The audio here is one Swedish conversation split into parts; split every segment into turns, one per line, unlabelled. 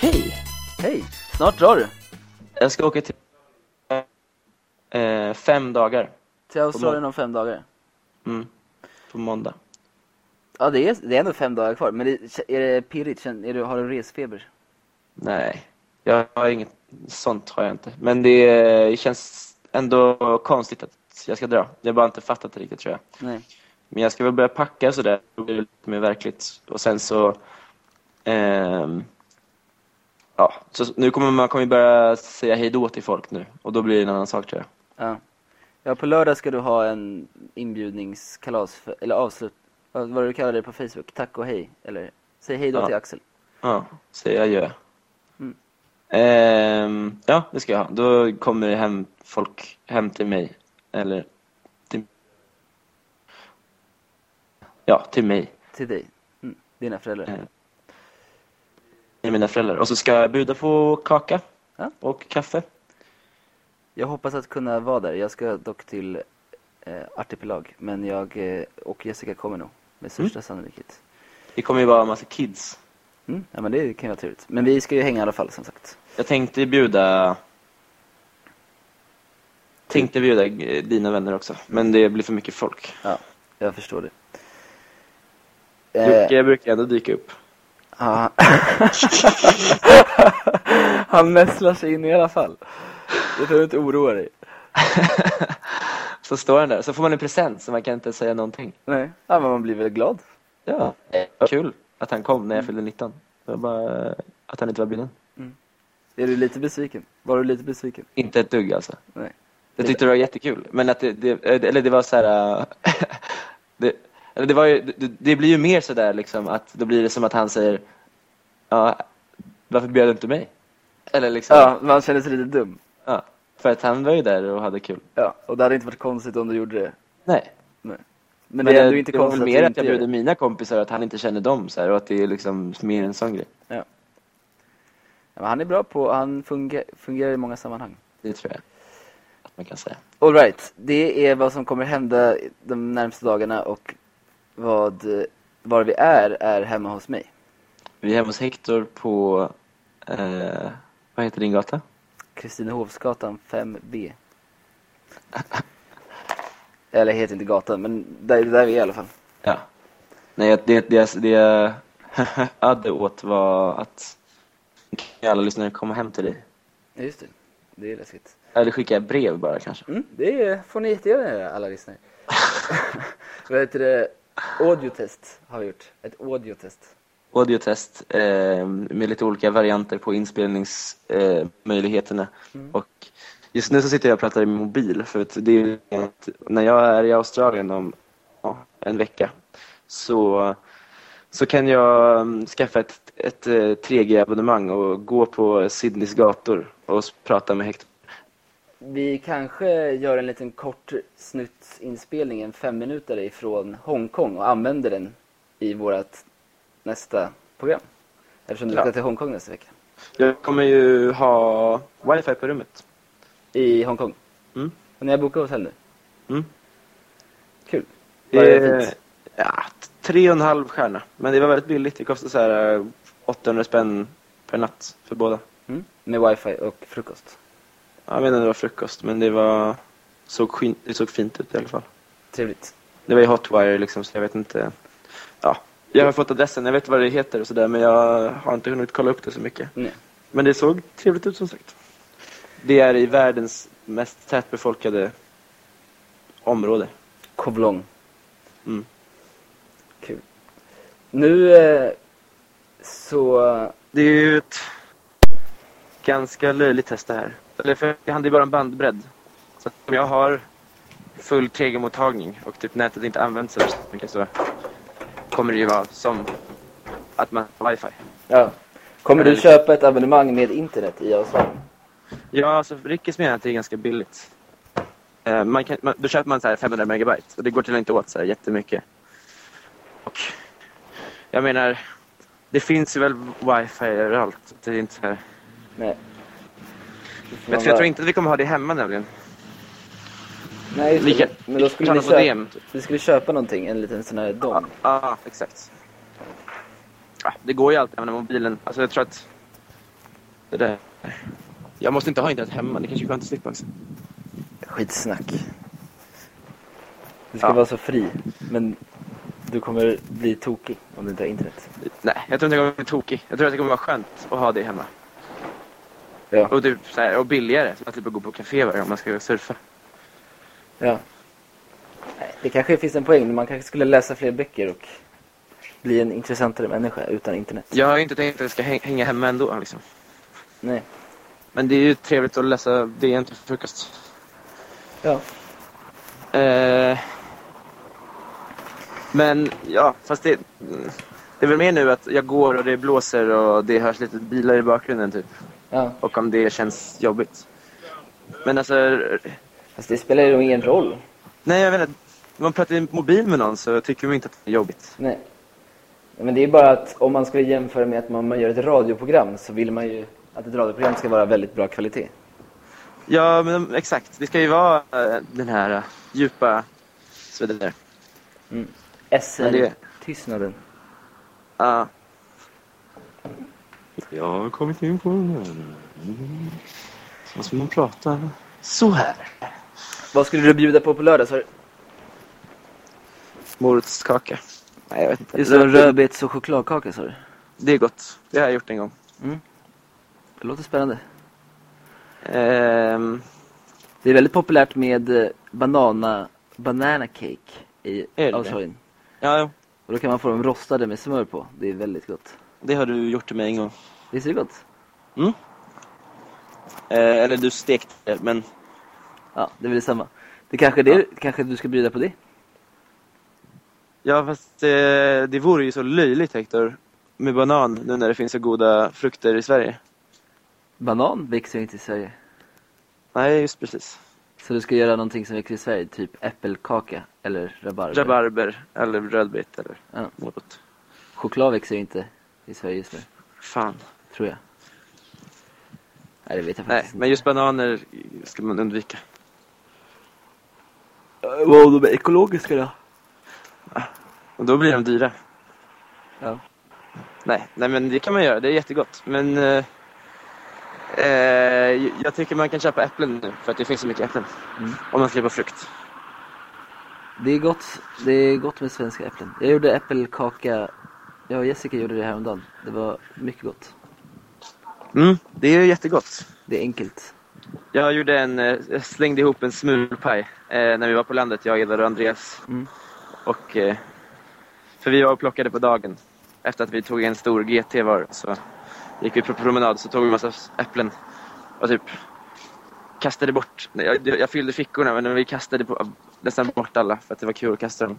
Hej!
Hej! Snart drar du.
Jag ska åka till eh, fem dagar
Till Australien om fem dagar.
mm. på måndag.
Ja, det är, det är ändå fem dagar kvar. Men det, är det pirrigt? Känner- Är du, har du resfeber?
Nej, jag har inget sånt har jag inte. Men det eh, känns ändå konstigt att jag ska dra. Jag har bara inte fattat det riktigt tror jag.
Nej.
Men jag ska väl börja packa sådär, då blir det lite mer verkligt. Och sen så... ehm, ja, så nu kommer man kommer ju börja säga hej då till folk nu. Och då blir det en annan sak tror jag.
Ja. ja, på lördag ska du ha en inbjudningskalas, för, eller avslut, vad vad du kallar det på Facebook, tack och hej, eller säg hej då
Ja.
till Axel.
Ja, säger adjö.
Mm.
Ehm, ja, det ska jag ha. Då kommer det hem folk hem till mig. Eller till... Ja, till mig.
Till dig, mm. dina föräldrar.
Eh, Till mina föräldrar. Och så ska jag bjuda på kaka.
Ja.
Och kaffe.
Jag hoppas att kunna vara där, jag ska dock till eh, Artipelag, men jag eh, och Jessica kommer nog, med största sannolikhet.
Det kommer ju vara en massa kids.
Mm. Ja men det kan ju vara trevligt. Men vi ska ju hänga i alla fall som sagt.
Jag tänkte bjuda... Tänkte bjuda eh, dina vänner också. Men det blir för mycket folk.
Ja, jag förstår det. Eh,
Jocke brukar ändå dyka upp.
ja. Han mässlar sig in i alla fall. Det behöver inte oroa dig.
Så står han där. Så får man en present så man kan inte säga någonting.
Nej, ja, men man blir väl glad.
Ja, Eh, kul att han kom när jag fyllde 19. Det var bara eh, att han inte var bjuden.
Är du lite besviken? Var du lite besviken?
Inte ett dugg alltså.
Nej.
Jag tyckte det var jättekul. Men att det, det eller det var så här... äh, det, eller det, var ju, det, det blir ju mer så där liksom att då blir det som att han säger ja, varför bjöd du inte mig? Eller liksom, ja.
Ja, man känner sig lite dum.
för att han var ju där och hade kul.
Ja, och det hade inte varit konstigt om du gjorde det.
Nej.
Nej. Men, det är ändå inte
det var väl
konstigt
mer
du
att
inte
jag
gör
bjöd mina kompisar och att han inte kände dem så här, och att det är liksom mer en sån grej.
det. Ja. Ja, men han är bra på, han funge- fungerar i många sammanhang.
Det tror jag att man kan säga.
Alright, det är vad som kommer hända de närmaste dagarna och vad, eh, var vi är, är hemma hos mig.
Vi är hemma hos Hector på, eh, vad heter din gata?
Kristinehovsgatan 5B. Eller heter inte gatan, men där, där vi är i alla fall.
Ja. Nej, det, det, det jag hade åt var att alla lyssnare komma hem till dig.
Ja, just det. Det är läskigt.
Eller skicka ett brev bara kanske.
Mm, det får ni jättegärna göra, alla lyssnare. Vad heter det? Audiotest har vi gjort. Ett audiotest.
Audiotest eh, med lite olika varianter på inspelningsmöjligheterna. Eh, möjligheterna. Och just nu så sitter jag och pratar i min mobil för att det är ju att när jag är i Australien om ja, en vecka så, så kan jag mm, skaffa ett, ett eh, 3G-abonnemang och gå på Sydneys gator och s- prata med Hector.
Vi kanske gör en liten kort snuttinspelning, en fem minuter ifrån Hongkong och använder den i vårt nästa program. Eftersom du
Ja.
ska till Hongkong nästa vecka.
Jag kommer ju ha wifi på rummet.
I Hongkong.
Mm.
Och ni har bokat hotell nu?
Mm.
Kul. Vad är det
Eh,
fint?
ja, tre och en halv stjärna. Men det var väldigt billigt. Det kostade så här eh, 800 spänn per natt för båda.
Mm. Med wifi och frukost.
Jag vet inte om det var frukost, men det var såg, skin, det såg fint ut i alla fall.
Trevligt.
Det var ju hotwire liksom, så jag vet inte. Ja, jag har fått adressen, jag vet vad det heter och sådär, men jag har inte hunnit kolla upp det så mycket.
Nej.
Men det såg trevligt ut som sagt. Det är i världens mest tätbefolkade område.
Kovlong.
Mm.
Kul. Nu eh, så...
Det är ju ett ganska löjligt test det här. Eller för det handlar ju bara om bandbredd. Så att om jag har full 3G-mottagning och typ nätet inte används så värst mycket så kommer det ju vara som att man har wifi.
Ja. Kommer du
Eller-
köpa ett abonnemang med internet i Australien?
Ja, alltså Rickis menar att det är ganska billigt. Eh, Man kan, man, då köper man så här 500 megabyte och det går till inte åt så här jättemycket. Och jag menar, det finns ju väl wifi överallt. så Det är inte så här.
Nej.
Men jag tror, jag tror inte att vi kommer ha det hemma nämligen.
Nej, just det.
Lika-
men då skulle vi,
lika modem.
köpa, vi skulle köpa någonting, en liten sån här dom.
Ah, Ja, exakt. Ja, det går ju alltid även med mobilen. Alltså jag tror att Det där. Jag måste inte ha internet hemma, det kanske är skönt att slippa också.
Skitsnack. Du ska
Ja.
vara så fri, men du kommer bli tokig om du inte har internet.
Nej, jag tror inte jag kommer bli tokig. Jag tror att det kommer vara skönt att ha det hemma.
Ja.
Och, typ, så här, och billigare, så att typ gå på café varje gång man ska surfa.
ja. Nej, Det kanske finns en poäng, man kanske skulle läsa fler böcker och bli en intressantare människa utan internet.
Jag har ju inte tänkt att jag ska häng- hänga hemma ändå. Liksom.
Nej.
Men det är ju trevligt att läsa DN till frukost.
Ja.
Eh, men ja, fast det, det är väl mer nu att jag går och det blåser och det hörs lite bilar i bakgrunden typ.
ja.
Och om det känns jobbigt. Men alltså,
Fast det spelar ju nog ingen roll.
nej jag vet inte. Om man pratar i mobil med någon så tycker man inte att det är jobbigt.
Nej. Men det är bara att om man skulle jämföra med att man man gör ett radioprogram så vill man ju att ett radioprogram ska vara väldigt bra kvalitet.
Ja, men exakt. Det ska ju vara eh, den här eh, djupa... Så vidare. Men det-
SR-tystnaden.
Ja. Jag har kommit in på mm. Måste man prata så här?
Vad skulle du bjuda på på lördag? Så
Morotskaka. Nej, jag vet inte.
Just det, rödbets och chokladkaka sa du.
Det är gott. Det har jag gjort en gång.
Det låter spännande.
Ehm,
Det är väldigt populärt med eh, banana, banana cake i
det det?
Australien.
ja, jo.
Och då kan man få dem rostade med smör på. Det är väldigt gott.
det har du gjort till mig en gång.
Visst är det gott?
Eh, eller du stekte det, men
Ja, det är väl samma. Det kanske, är det, kanske du ska bjuda på det?
Ja, fast eh, det vore ju så löjligt, Hector, med banan nu när det finns så goda frukter i Sverige.
Banan växer ju inte i Sverige.
Nej, just precis.
Så du ska göra någonting som växer i Sverige, typ äppelkaka eller rabarber.
Rabarber eller rödbet eller
Ja.
morot.
Choklad växer ju inte i Sverige just nu,
Fan.
tror jag. Nej, det vet jag
Nej,
faktiskt
men just bananer ska man undvika.
inte. Wow, Eh, de är ekologiska då.
Och då blir de dyra.
Ja.
Nej, nej men det kan man göra. Det är jättegott. Men eh, eh, jag tycker man kan köpa äpplen nu för att det finns så mycket äpplen. Om man ska på frukt.
Det är gott, det är gott med svenska äpplen. Jag gjorde äppelkaka, jag och Jessica gjorde det häromdagen. Det var mycket gott.
Mm, det är jättegott.
Det är enkelt.
Jag gjorde en, eh, jag slängde ihop en smulpaj eh, när vi var på landet, jag, Edvard och Andreas.
Mm.
Och, eh, för vi var och plockade på dagen. Efter att vi tog en stor GT var så gick vi på promenad så tog vi en massa äpplen och typ kastade bort. Nej, Jag, jag fyllde fickorna men vi kastade på, nästan bort alla för att det var kul att kasta dem.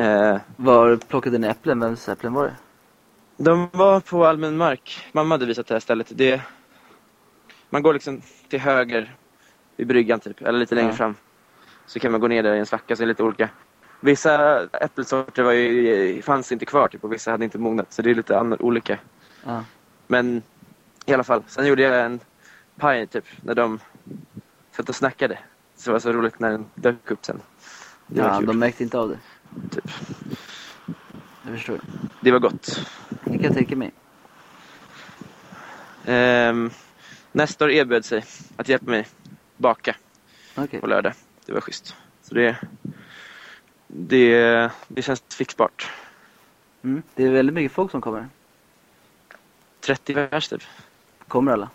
Eh,
Var plockade ni äpplen? Vems äpplen var det?
de var på allmän mark. Mamma hade visat det här stället. Det, man går liksom till höger vid bryggan typ, eller lite längre
Ja.
fram. Så kan man gå ner där i en svacka, så är det lite olika. Vissa äppelsorter var ju, fanns inte kvar typ, och vissa hade inte mognat, så det är lite annorlunda, olika.
Ja.
Men i alla fall, sen gjorde jag en paj typ, när de satt och snackade. Så det var så roligt när den dök upp sen. Det var,
ja
kul,
de märkte inte av det.
typ.
Jag förstår.
det var gott.
Det kan jag tänka mig.
Ehm, Nestor erbjöd sig att hjälpa mig baka.
Okej.
på lördag. Det var schysst. Så det, det, det känns fixbart.
Mm. Det är väldigt mycket folk som kommer.
30 pers typ?
Kommer alla?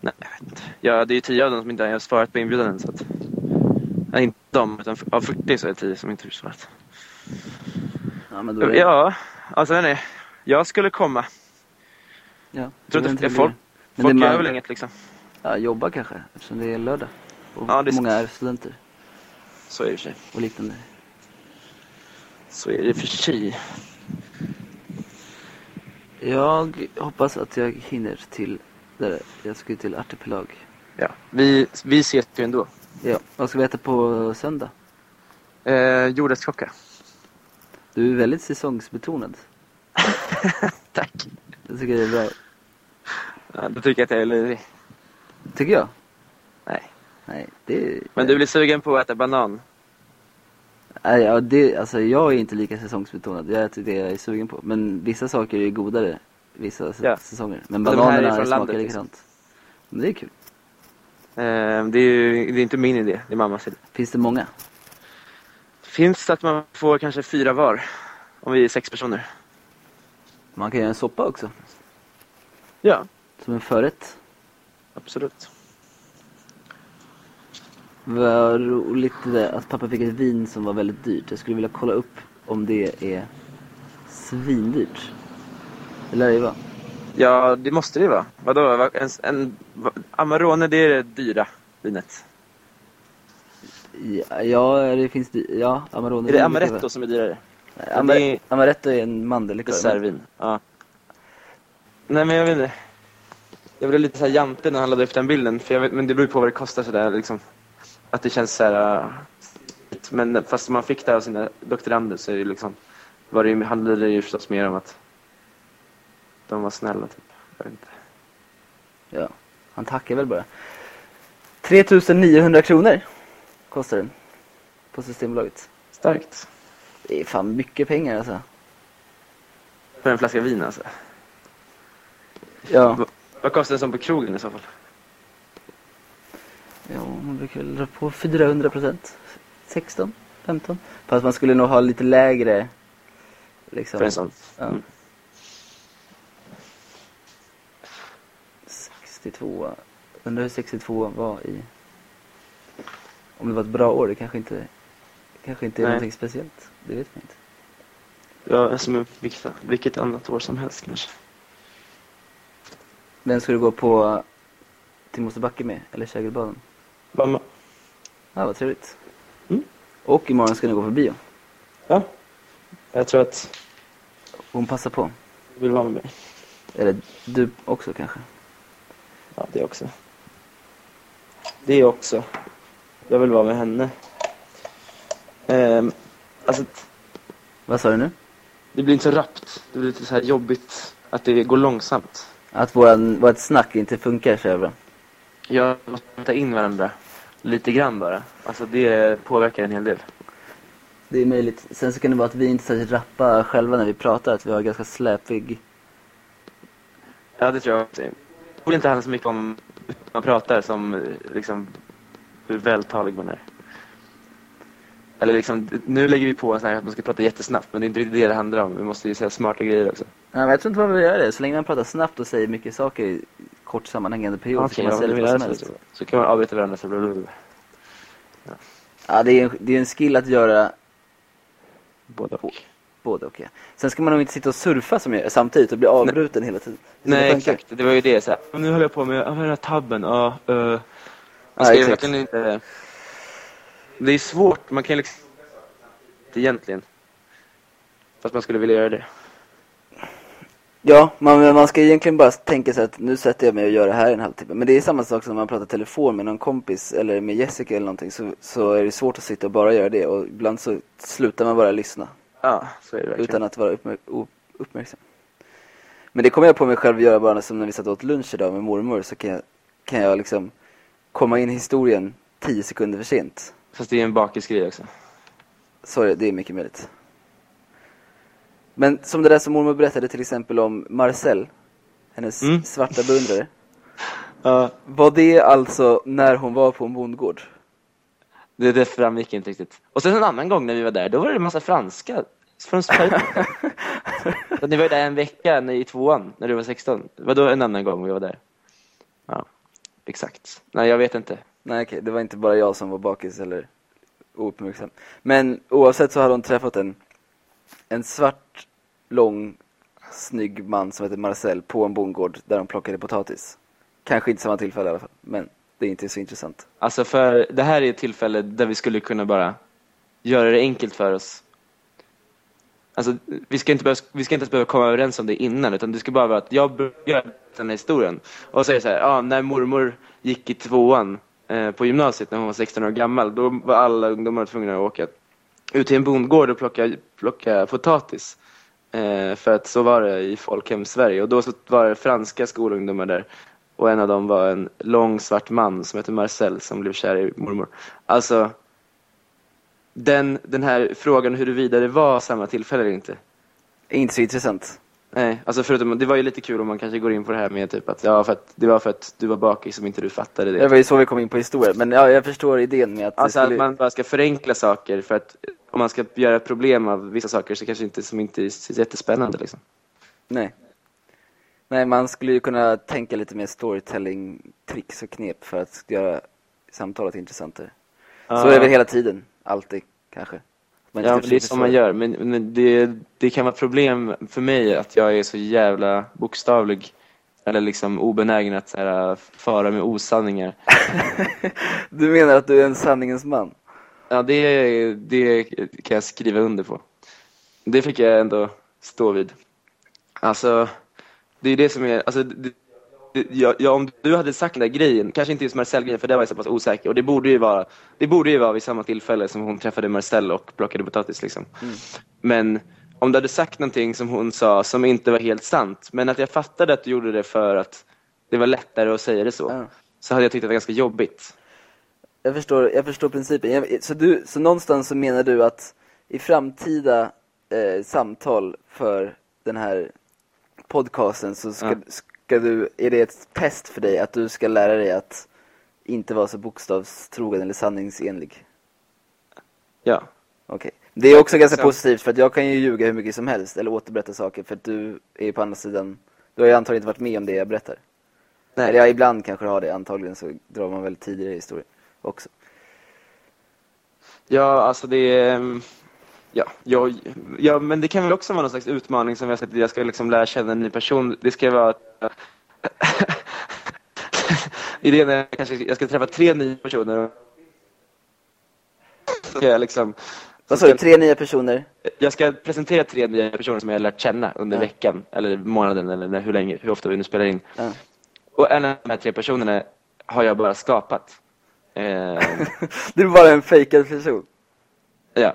Nej, jag vet inte. Ja, det är ju 10 av dem som inte har svarat på inbjudan än. Så att, nej, inte de, utan av 40 så är det 10 som inte har svarat.
Ja, men då är det...
Ja, alltså nej, jag skulle komma.
ja.
Jag tror
det är
inte
en
det folk,
Men
folk
det är
gör
man-
väl inget liksom.
Ja, jobba kanske, eftersom det är lördag. Och
Ja, det är
många är studenter
Så är det i och för sig.
och liknande.
Så är det i och för sig.
Jag hoppas att jag hinner till... Där, jag ska ju till Artipelag.
Ja. Vi, vi ses ju ändå.
Ja, vad ska vi äta på söndag?
Eh, Jordärtskocka.
Du är väldigt säsongsbetonad.
Tack.
Jag tycker det är bra.
Ja, då tycker jag att jag är lurig.
Tycker jag?
Nej.
Nej, det...
Men du blir sugen på att äta banan?
Nej, ja, det... Alltså, jag är inte lika säsongsbetonad. Jag äter det jag är sugen på. Men vissa saker är godare vissa s-
Ja.
säsonger. Men
de här är
bananerna
från
smakar
landet, liksom.
likadant. Men det är kul.
Eh, det är ju det är inte min idé, det är mammas idé.
Finns det många?
Finns det att man får kanske fyra var? Om vi är sex personer.
Man kan göra en soppa också.
Ja,
Som en förrätt.
absolut.
Vad roligt det där att pappa fick ett vin som var väldigt dyrt. Jag skulle vilja kolla upp om det är svindyrt. Det lär det ju vara.
Ja, det måste det ju vara. Vadå? va- En, en, va- Amarone, det är det dyra vinet.
Ja, Ja, det finns dy- Ja, Amarone.
Är Mm, det
brukar
Amaretto
vara-
som är dyrare?
Nej,
Det
Amare-
är-
Amaretto är en mandellikör.
Dessertvin. Ja. Nej, men jag vet inte. Jag blev lite så här jante när han laddade upp den bilden. För jag vet, men det beror ju på vad det kostar. Så där, liksom. Att det känns så här... äh, Men fast man fick det av sina doktorander så är det liksom, var det, ju- handlade det ju förstås mer om att de var snälla. Typ. Jag vet inte.
Ja, han tackar väl bara. 3900 kronor kostar den. På Systembolaget.
Starkt.
Det är fan mycket pengar alltså.
För en flaska vin alltså.
Ja.
Va- Vad kostar en sån på krogen i så fall?
Ja, man brukar väl dra på 400 procent. 16, 15. Fast man skulle nog ha lite lägre. Liksom.
För en sån?
Ja.
Mm.
62. Undrar hur 62 var i... Om det var ett bra år, det kanske inte, kanske inte är
Nej.
någonting speciellt. Det vet man inte.
Ja, som vilket, vilket annat år som helst kanske.
Vem ska du gå på till Mosebacke med? Eller Kägelbaden?
Mamma?
Ja, vad trevligt.
Mm.
Och imorgon ska ni gå på bio.
Ja. Jag tror att
Hon passar på.
du vill vara med mig.
Eller du också kanske.
Ja, det också. Det också. Jag vill vara med henne. Ehm, alltså,
Vad sa du nu?
det blir inte så rappt. Det blir lite så här jobbigt att det går långsamt.
Att våran, vårt snack inte funkar så jävla.
Jag måste ta in varandra. Lite grann bara. Alltså det påverkar en hel del.
Det är möjligt. Sen så kan det vara att vi inte är särskilt rappa själva när vi pratar. Att vi har ganska släpig...
Ja, det tror jag också. Det borde inte handla så mycket om hur man pratar som eh, liksom, hur vältalig man är. Eller liksom, nu lägger vi på så här att man ska prata jättesnabbt, men det är inte riktigt det det handlar om. Vi måste ju säga smarta grejer också.
Nej, men jag tror inte man behöver göra det. Så länge man pratar snabbt och säger mycket saker i kort sammanhängande period så
Okej,
kan man
ja,
säga
det
lite
vill
vad
jag
som
säga
helst.
så. Så kan man avbryta varandra så blablabla.
Ja, det är, en, det är en skill att göra
Både och.
både och. Ja. Sen ska man nog inte sitta och surfa som jag gör samtidigt och bli avbruten hela tiden. Sina
Nej,
tankar.
exakt. Det var ju det. Så här. Nu höll jag på med, ja, vad är den här tabben? Ja, uh, man ska
Nej,
ju
exakt.
verkligen inte... Det är svårt, man kan ju liksom... inte Egentligen. Fast man skulle vilja göra det.
Ja, man, man ska egentligen bara tänka sig att nu sätter jag mig och gör det här i en halvtimme. Men det är samma sak som när man pratar telefon med någon kompis eller med Jessica eller någonting så, så är det svårt att sitta och bara göra det och ibland så slutar man bara lyssna
Ja, så är det verkligen.
utan att vara uppmär- o- uppmärksam. Men det kommer jag på mig själv att göra bara som när vi satt och åt lunch idag med mormor så kan jag, kan jag liksom komma in i historien tio sekunder för sent.
Fast det är en bakisgrej också.
Så är det, det är mycket möjligt. Men som det där som mormor berättade till exempel om Marcel, hennes
Mm.
svarta beundrare.
Ja,
Var det alltså när hon var på en bondgård?
det, det framgick inte riktigt. Och sen en annan gång när vi var där, då var det en massa franska från Sverige. Så ni var ju där en vecka när, i tvåan, när du var 16. Vadå en annan gång vi var där? Ja, exakt. Nej, jag vet inte.
Nej okej, det var inte bara jag som var bakis eller ouppmärksam. Men oavsett så hade hon träffat en, en svart, lång, snygg man som hette Marcel på en bondgård där de plockade potatis. Kanske inte samma tillfälle i alla fall, men det är inte så intressant.
Alltså för det här är ett tillfälle där vi skulle kunna bara göra det enkelt för oss. Alltså vi ska inte, behöva, vi ska inte ens behöva komma överens om det innan utan det ska bara vara att jag börjar den här historien. Och säger så här, ja när mormor gick i tvåan eh, på gymnasiet när hon var 16 år gammal då var alla ungdomar tvungna att åka ut till en bondgård och plocka, plocka potatis. Eh, för att så var det i folkhem Sverige. Och då så var det franska skolungdomar där. Och en av dem var en lång svart man som hette Marcel som blev kär i mormor. Alltså, den, den här frågan huruvida det var samma tillfälle eller inte.
Inte så intressant.
Nej, alltså förutom, det var ju lite kul om man kanske går in på det här med typ att, ja, för att det var för att du var bakis som inte du fattade
Det
det.
var ju så vi kom in på historia, men ja, jag förstår idén med att det
Alltså att
skulle...
man bara ska förenkla saker för att om man ska göra problem av vissa saker så kanske inte, som inte är så jättespännande liksom.
Nej. Nej, man skulle ju kunna tänka lite mer storytelling-tricks och knep för att göra samtalet intressantare. Så är det väl hela tiden, alltid, kanske. Att man inte
Ja,
ska
men det är
försöka
så man gör. Men, men det, det kan vara problem för mig att jag är så jävla bokstavlig. Eller liksom obenägen att så här, föra med osanningar.
förstå. Du menar att du är en sanningens man?
Ja, det, det kan jag skriva under på. Det fick jag ändå stå vid. Alltså, det är det som är... Alltså, det, det, ja, ja, om du hade sagt den där grejen, kanske inte just Marcel-grejen för där var jag så pass osäker. Och det borde ju vara, det borde ju vara vid samma tillfälle som hon träffade Marcel och plockade potatis. Liksom. Men om du hade sagt någonting som hon sa som inte var helt sant, men att jag fattade att du gjorde det för att det var lättare att säga det så,
Ja.
så hade jag tyckt att det var ganska jobbigt.
Jag förstår, jag förstår principen. Jag, så, du, så någonstans så menar du att i framtida eh, samtal för den här podcasten så ska,
Ja.
ska du, är det ett test för dig att du ska lära dig att inte vara så bokstavstrogen eller sanningsenlig?
Ja.
Okej. Det är också ganska
Så-
positivt för att jag kan ju ljuga hur mycket som helst eller återberätta saker för att du är ju på andra sidan, du har ju antagligen inte varit med om det jag berättar.
Nej.
Eller ja, ibland kanske du har det, antagligen så drar man väl tidigare historier också.
Ja, alltså det... ehm, Ja, ja, ja, men det kan väl också vara någon slags utmaning som jag sett. Jag ska liksom lära känna en ny person. Det ska vara... Idén är att jag kanske jag ska träffa tre nya personer. Så ska Jag, liksom,
Vad sa du, tre nya personer?
jag ska presentera tre nya personer som jag har lärt känna under veckan, eller månaden, eller när, hur länge, hur ofta vi nu spelar in.
Ja.
Och en av de här tre personerna har jag bara skapat. Ehm,
Du är bara en fejkad person.
ja.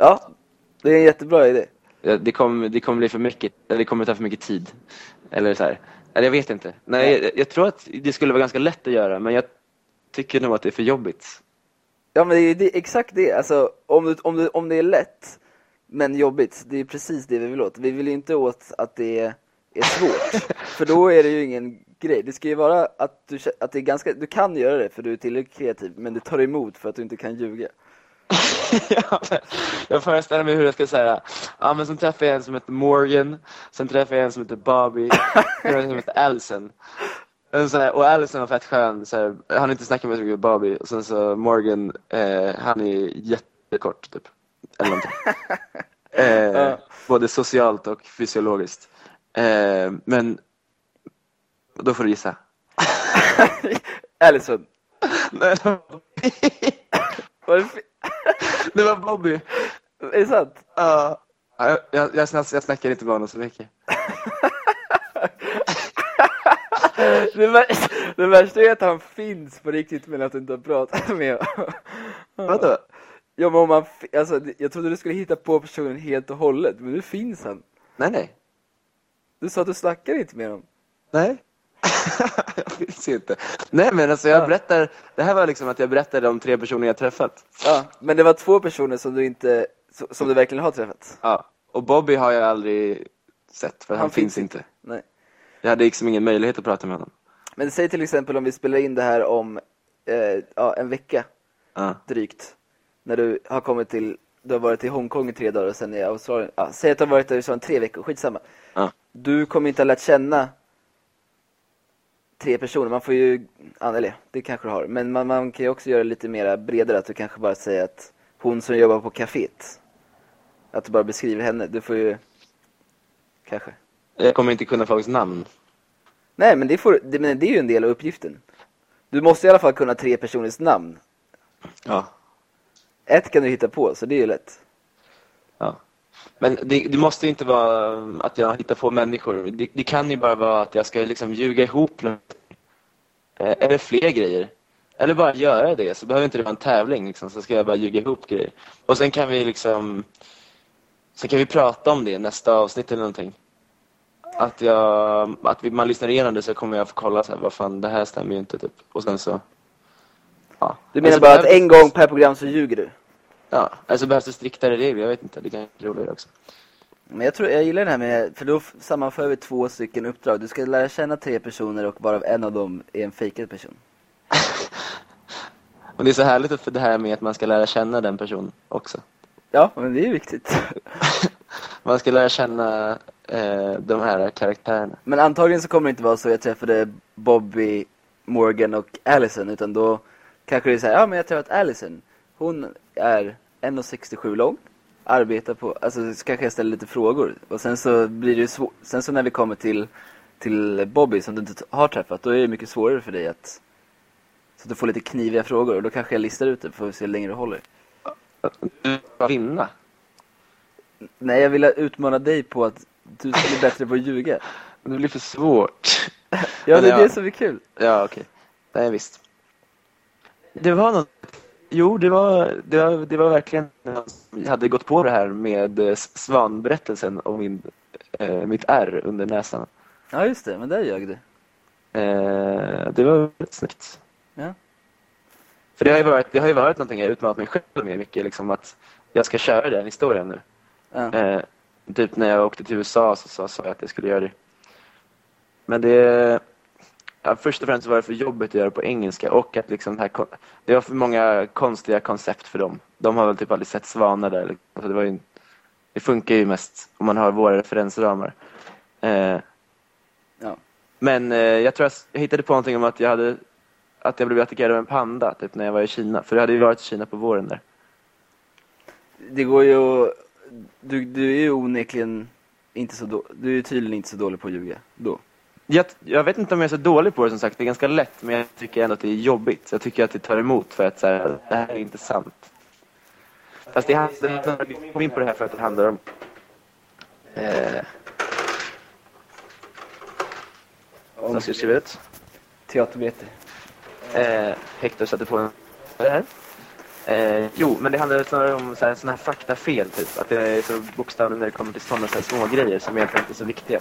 Ja, det är en jättebra idé.
Ja, Eh, Det kommer, det kommer bli för mycket, eller det kommer ta för mycket tid. Eller så här. Eller jag vet inte. Nej, jag, jag tror att det skulle vara ganska lätt att göra, men jag tycker nog att det är för jobbigt.
Ja, men det är ju det, exakt det. Alltså, om, du, om, du, om det är lätt, men jobbigt, det är precis det vi vill åt. Vi vill ju inte åt att det är, är svårt, för då är det ju ingen grej. Det ska ju vara att du, kä- att det är ganska, du kan göra det för du är tillräckligt kreativ, men det tar emot för att du inte kan ljuga.
Ja, men jag föreställer mig hur jag ska säga. Ja, men sen träffade jag en som heter Morgan, sen träffade jag en som heter Bobby, sen en som heter Allison. En sån här, och Allison var fett skön, så här, han inte snackat med så mycket med Bobby. Och sen så Morgan, eh, han är jättekort typ. Eller någonting. eh,
Ja.
Både socialt och fysiologiskt. Eh, men då får du gissa.
Allison,
Nej, det var Bobby.
var det fe-
det var Bobby.
är det sant?
Ja. Jag, jag, jag, snack, jag snackar inte med honom så mycket.
Det, vär, det värsta är att han finns på riktigt, men att du inte har pratat med honom.
Vadå?
Ja men om man, fi- alltså det- jag trodde du skulle hitta på personen helt och hållet, men nu finns han.
Nej, nej.
Du sa att du snackar inte med honom.
Nej. jag finns ju inte. Nej, men alltså jag berättar. Det här var liksom att jag berättade om tre personer jag träffat.
Ja, men det var två personer som du inte, so- som du verkligen har träffat.
Ja. Och Bobby har jag aldrig sett, för han, finns inte.
Nej.
Jag hade liksom ingen möjlighet att prata med honom.
Men säg till exempel om vi spelar in det här om, eh, ja en vecka
Ja.
drygt. När du har kommit till, du har varit i Hongkong i tre dagar och sen i Australien. Ja, säg att du har varit där i Australien tre veckor, skitsamma.
Ja.
Du kommer inte ha lärt känna tre personer. Man får ju, ja, eller det kanske du har, men man, man kan ju också göra det lite mer bredare. Att du kanske bara säger att hon som jobbar på kaféet. Att du bara beskriver henne. Du får ju, kanske.
Jag kommer inte kunna folks namn.
Nej, men det, får, det, men det är ju en del av uppgiften. Du måste i alla fall kunna tre personers namn.
Ja.
Ett kan du hitta på, så det är ju lätt.
ja. Men det, det måste ju inte vara um, att jag hittar på människor. Det, det kan ju bara vara att jag ska liksom ljuga ihop något. Eh, Eller fler grejer. Eller bara göra det, så behöver inte det vara en tävling. Liksom. Så ska jag bara ljuga ihop grejer. Och sen kan vi liksom... Sen kan vi prata om det i nästa avsnitt eller någonting. Att, jag, att vi, man lyssnar igenom det så kommer jag få kolla så här, vad fan, det här stämmer ju inte typ. Och sen så... Ja.
Du menar
Alltså,
bara att
behövs-
en gång per program så ljuger du?
Ja, alltså behövs det striktare regler? Jag vet inte, det kan vara roligare också.
Men jag tror, jag gillar det här med, för då f- sammanför vi två stycken uppdrag. Du ska lära känna tre personer och varav en av dem är en fejkad person.
Och det är så härligt att- för det här med att man ska lära känna den personen också.
Ja, men det är ju viktigt.
Man ska lära känna eh, de här karaktärerna.
Men antagligen så kommer det inte vara så jag träffade Bobby, Morgan och Allison utan då kanske det är så här, ja men jag har träffat Allison. Hon är 1,67 lång, arbetar på, alltså så kanske jag ställer lite frågor. Och sen så blir det ju svårt, sen så när vi kommer till, till Bobby som du inte t- har träffat, då är det mycket svårare för dig att så att du får lite kniviga frågor och då kanske jag listar ut det för att se hur länge du håller.
Du ska vinna.
Nej, jag vill utmana dig på att du ska bli bättre på att ljuga.
Det blir för svårt.
Ja,
Men
det är
jag-
det som är kul.
Ja, okej. Nej, visst. Det var något... Jo, det var, det var, det var verkligen... Jag hade gått på det här med eh, svanberättelsen och min, eh, mitt R under näsan.
Ja, just det, men där ljög du.
Eh, det var väldigt snyggt.
Ja.
För det har ju varit, det har ju varit någonting jag utmanat mig själv med mycket, liksom att jag ska köra den historien nu.
Ja.
Eh, typ när jag åkte till USA så sa- sa jag att jag skulle göra det. Men det... Ja, först och främst var det för jobbigt att göra på engelska och att liksom det, här, kon- det var för många konstiga koncept för dem. De har väl typ aldrig sett svanar där. Liksom. Så det, var ju, det funkar ju mest om man har våra referensramar. Eh,
Ja.
men eh, jag tror jag, s- jag hittade på någonting om att jag hade att jag blev attackerad av en panda typ när jag var i Kina. För det hade ju varit i Kina på våren där.
Det går ju att- du, du är ju onekligen inte så då, du är ju tydligen inte så dålig på att ljuga då.
Jag, jag vet inte om jag är så dålig på det som sagt, det är ganska lätt men jag tycker ändå att det är jobbigt. Jag tycker att det tar emot för att så här, det här är inte sant. Fast det handlar, vi kom in på det här för att det handlar om... Eh, om jag ska skriva ut.
Teaterbiljetter.
Eh, Hector satte på en... Det här. Eh, jo, men det handlar snarare om så här- såna här faktafel typ. Att det är så bokstavligt när det kommer till sådana så här små grejer som egentligen inte är så viktiga.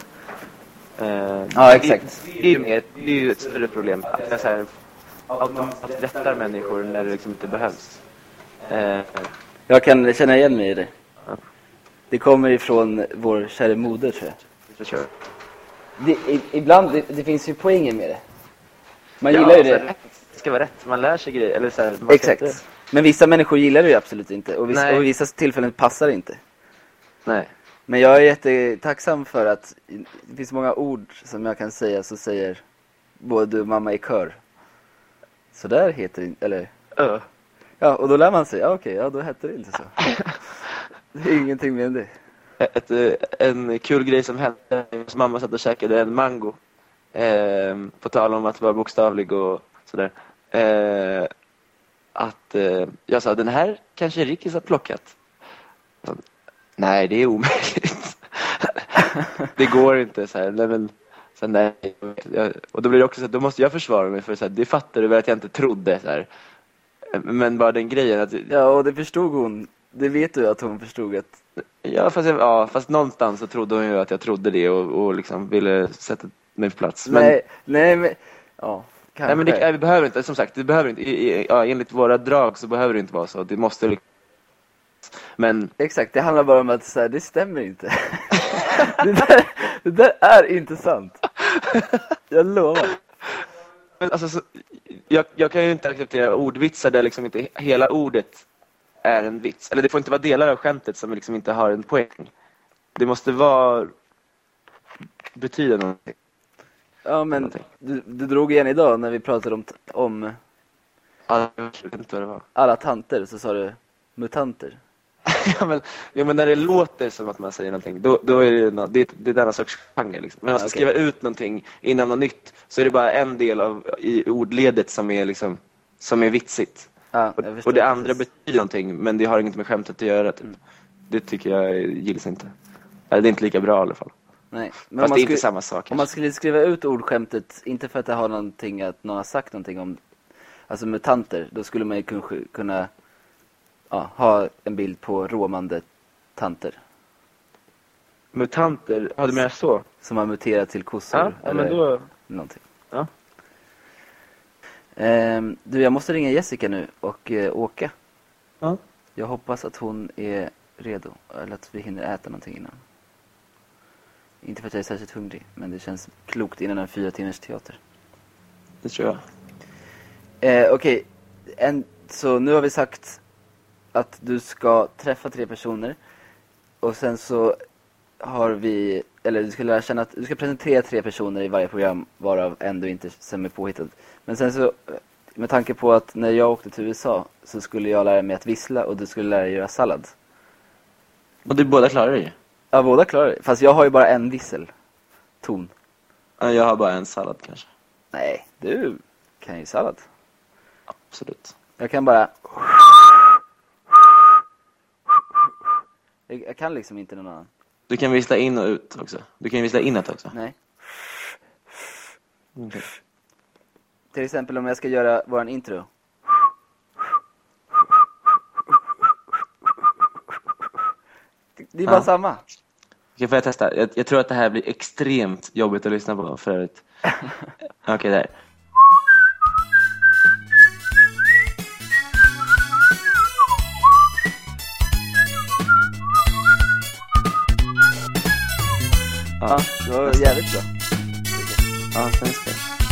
Eh,
Ja, exakt.
Det, det, är ju mer, det är ju ett större problem. Att jag så här, automatiskt rättar människor när det liksom inte behövs. Eh,
Jag kan känna igen mig i det. Det kommer ifrån vår kära moder tror jag.
så kör.
Det, i, ibland, det, det finns ju poänger med det. Man
Ja,
gillar ju
så här,
det.
rätt ska vara rätt. Man lär sig grejer. Eller så här, man ska inte-
Exakt. Men vissa människor gillar det ju absolut inte och vissa,
Nej.
och vissa tillfällen passar det inte.
Nej.
Men jag är jättetacksam för att det finns många ord som jag kan säga så säger både du och mamma i kör. Så där heter det inte- eller
Ö.
Ja, och då lär man sig, ja okej, ja då hette det inte så. Det är ingenting med det.
ett, eh, en kul grej som hände. Min mamma satt och käkade en mango. Eh, på tal om att vara bokstavlig och sådär. Eh, att eh, jag sa den här kanske Rikis har plockat. Så, nej, det är omöjligt. det går inte. Så här. Nej, men, så, nej. Jag, och då blir det också så att då måste jag försvara mig för så här, det fattar du väl att jag inte trodde. Så här. Men bara den grejen att
Ja, och det förstod hon. Det vet du att hon förstod att,
Ja fast, jag, ja, fast någonstans så trodde hon ju att jag trodde det och, och liksom ville sätta mig på plats. Men,
nej, nej men, ja, kanske.
nej, men det, nej, vi behöver inte, som sagt, det behöver inte, i, i, ja, enligt våra drag så behöver det inte vara så. Det måste liksom- Men
Exakt, det handlar bara om att så här, det stämmer inte. det, där, det där är inte sant. Jag lovar.
Men alltså, så, jag, jag kan ju inte acceptera ordvitsar där liksom inte he- hela ordet är en vits. Eller det får inte vara delar av skämtet som liksom inte har en poäng. Det måste vara betyda någonting.
Ja, men du, du drog igen idag när vi pratade om, t- om
Ja, Alltså, jag vet inte vad det var.
alla tanter, så sa du mutanter.
ja, men, ja, men när det låter som att man säger någonting, då, då är det, nå- det, det är denna sorts genre. Liksom. Men man ska
Okej.
skriva ut någonting innan något nytt, så är det bara en del av, i ordledet som är, liksom, som är vitsigt.
Ja,
Och,
jag förstår
och Ah, det
precis.
andra betyder någonting, men det har inget med skämtet att göra. Typ. Det tycker jag gills inte. Eller det är inte lika bra i alla fall.
Nej, men
Fast det är
skulle-
inte samma sak.
Om man skulle skriva ut ordskämtet, inte för att det har någonting, att någon har sagt någonting om, alltså mutanter, då skulle man ju kun- kunna ja, ha en bild på råmande tanter.
Mutanter, ja du menar så?
Som har muterat till kossor.
Ja, ja, men då...
någonting.
Ja.
Ehm, du, jag måste ringa Jessica nu och eh, åka.
Ja.
Jag hoppas att hon är redo, eller att vi hinner äta någonting innan. Inte för att jag är särskilt hungrig, men det känns klokt innan en fyra timmars teater.
Det tror jag.
Eh, Okej, En- så nu har vi sagt att du ska träffa tre personer och sen så har vi, eller du ska lära känna att du ska presentera tre personer i varje program varav en du inte sen är påhittad. Men sen så, eh, med tanke på att när jag åkte till USA så skulle jag lära mig att vissla och du skulle lära dig göra sallad.
Och du båda klarar det ju.
Ja, båda klarar det. Fast jag har ju bara en vissel. Ton.
Ja, Jag har bara en sallad kanske.
Nej, du kan ju sallad.
Absolut.
Jag kan bara... Jag, jag kan liksom inte någon annan.
Du kan vissla in och ut också. Du kan vissla inåt också.
Nej.
Mm, Okej.
Till exempel om jag ska göra våran intro. Det är bara
Ja.
samma.
Okej, får jag testa? Jag, jag tror att det här blir extremt jobbigt att lyssna på för övrigt. Okej, där. Ja,
Ja, det var jävligt bra.
ja, sen ska jag.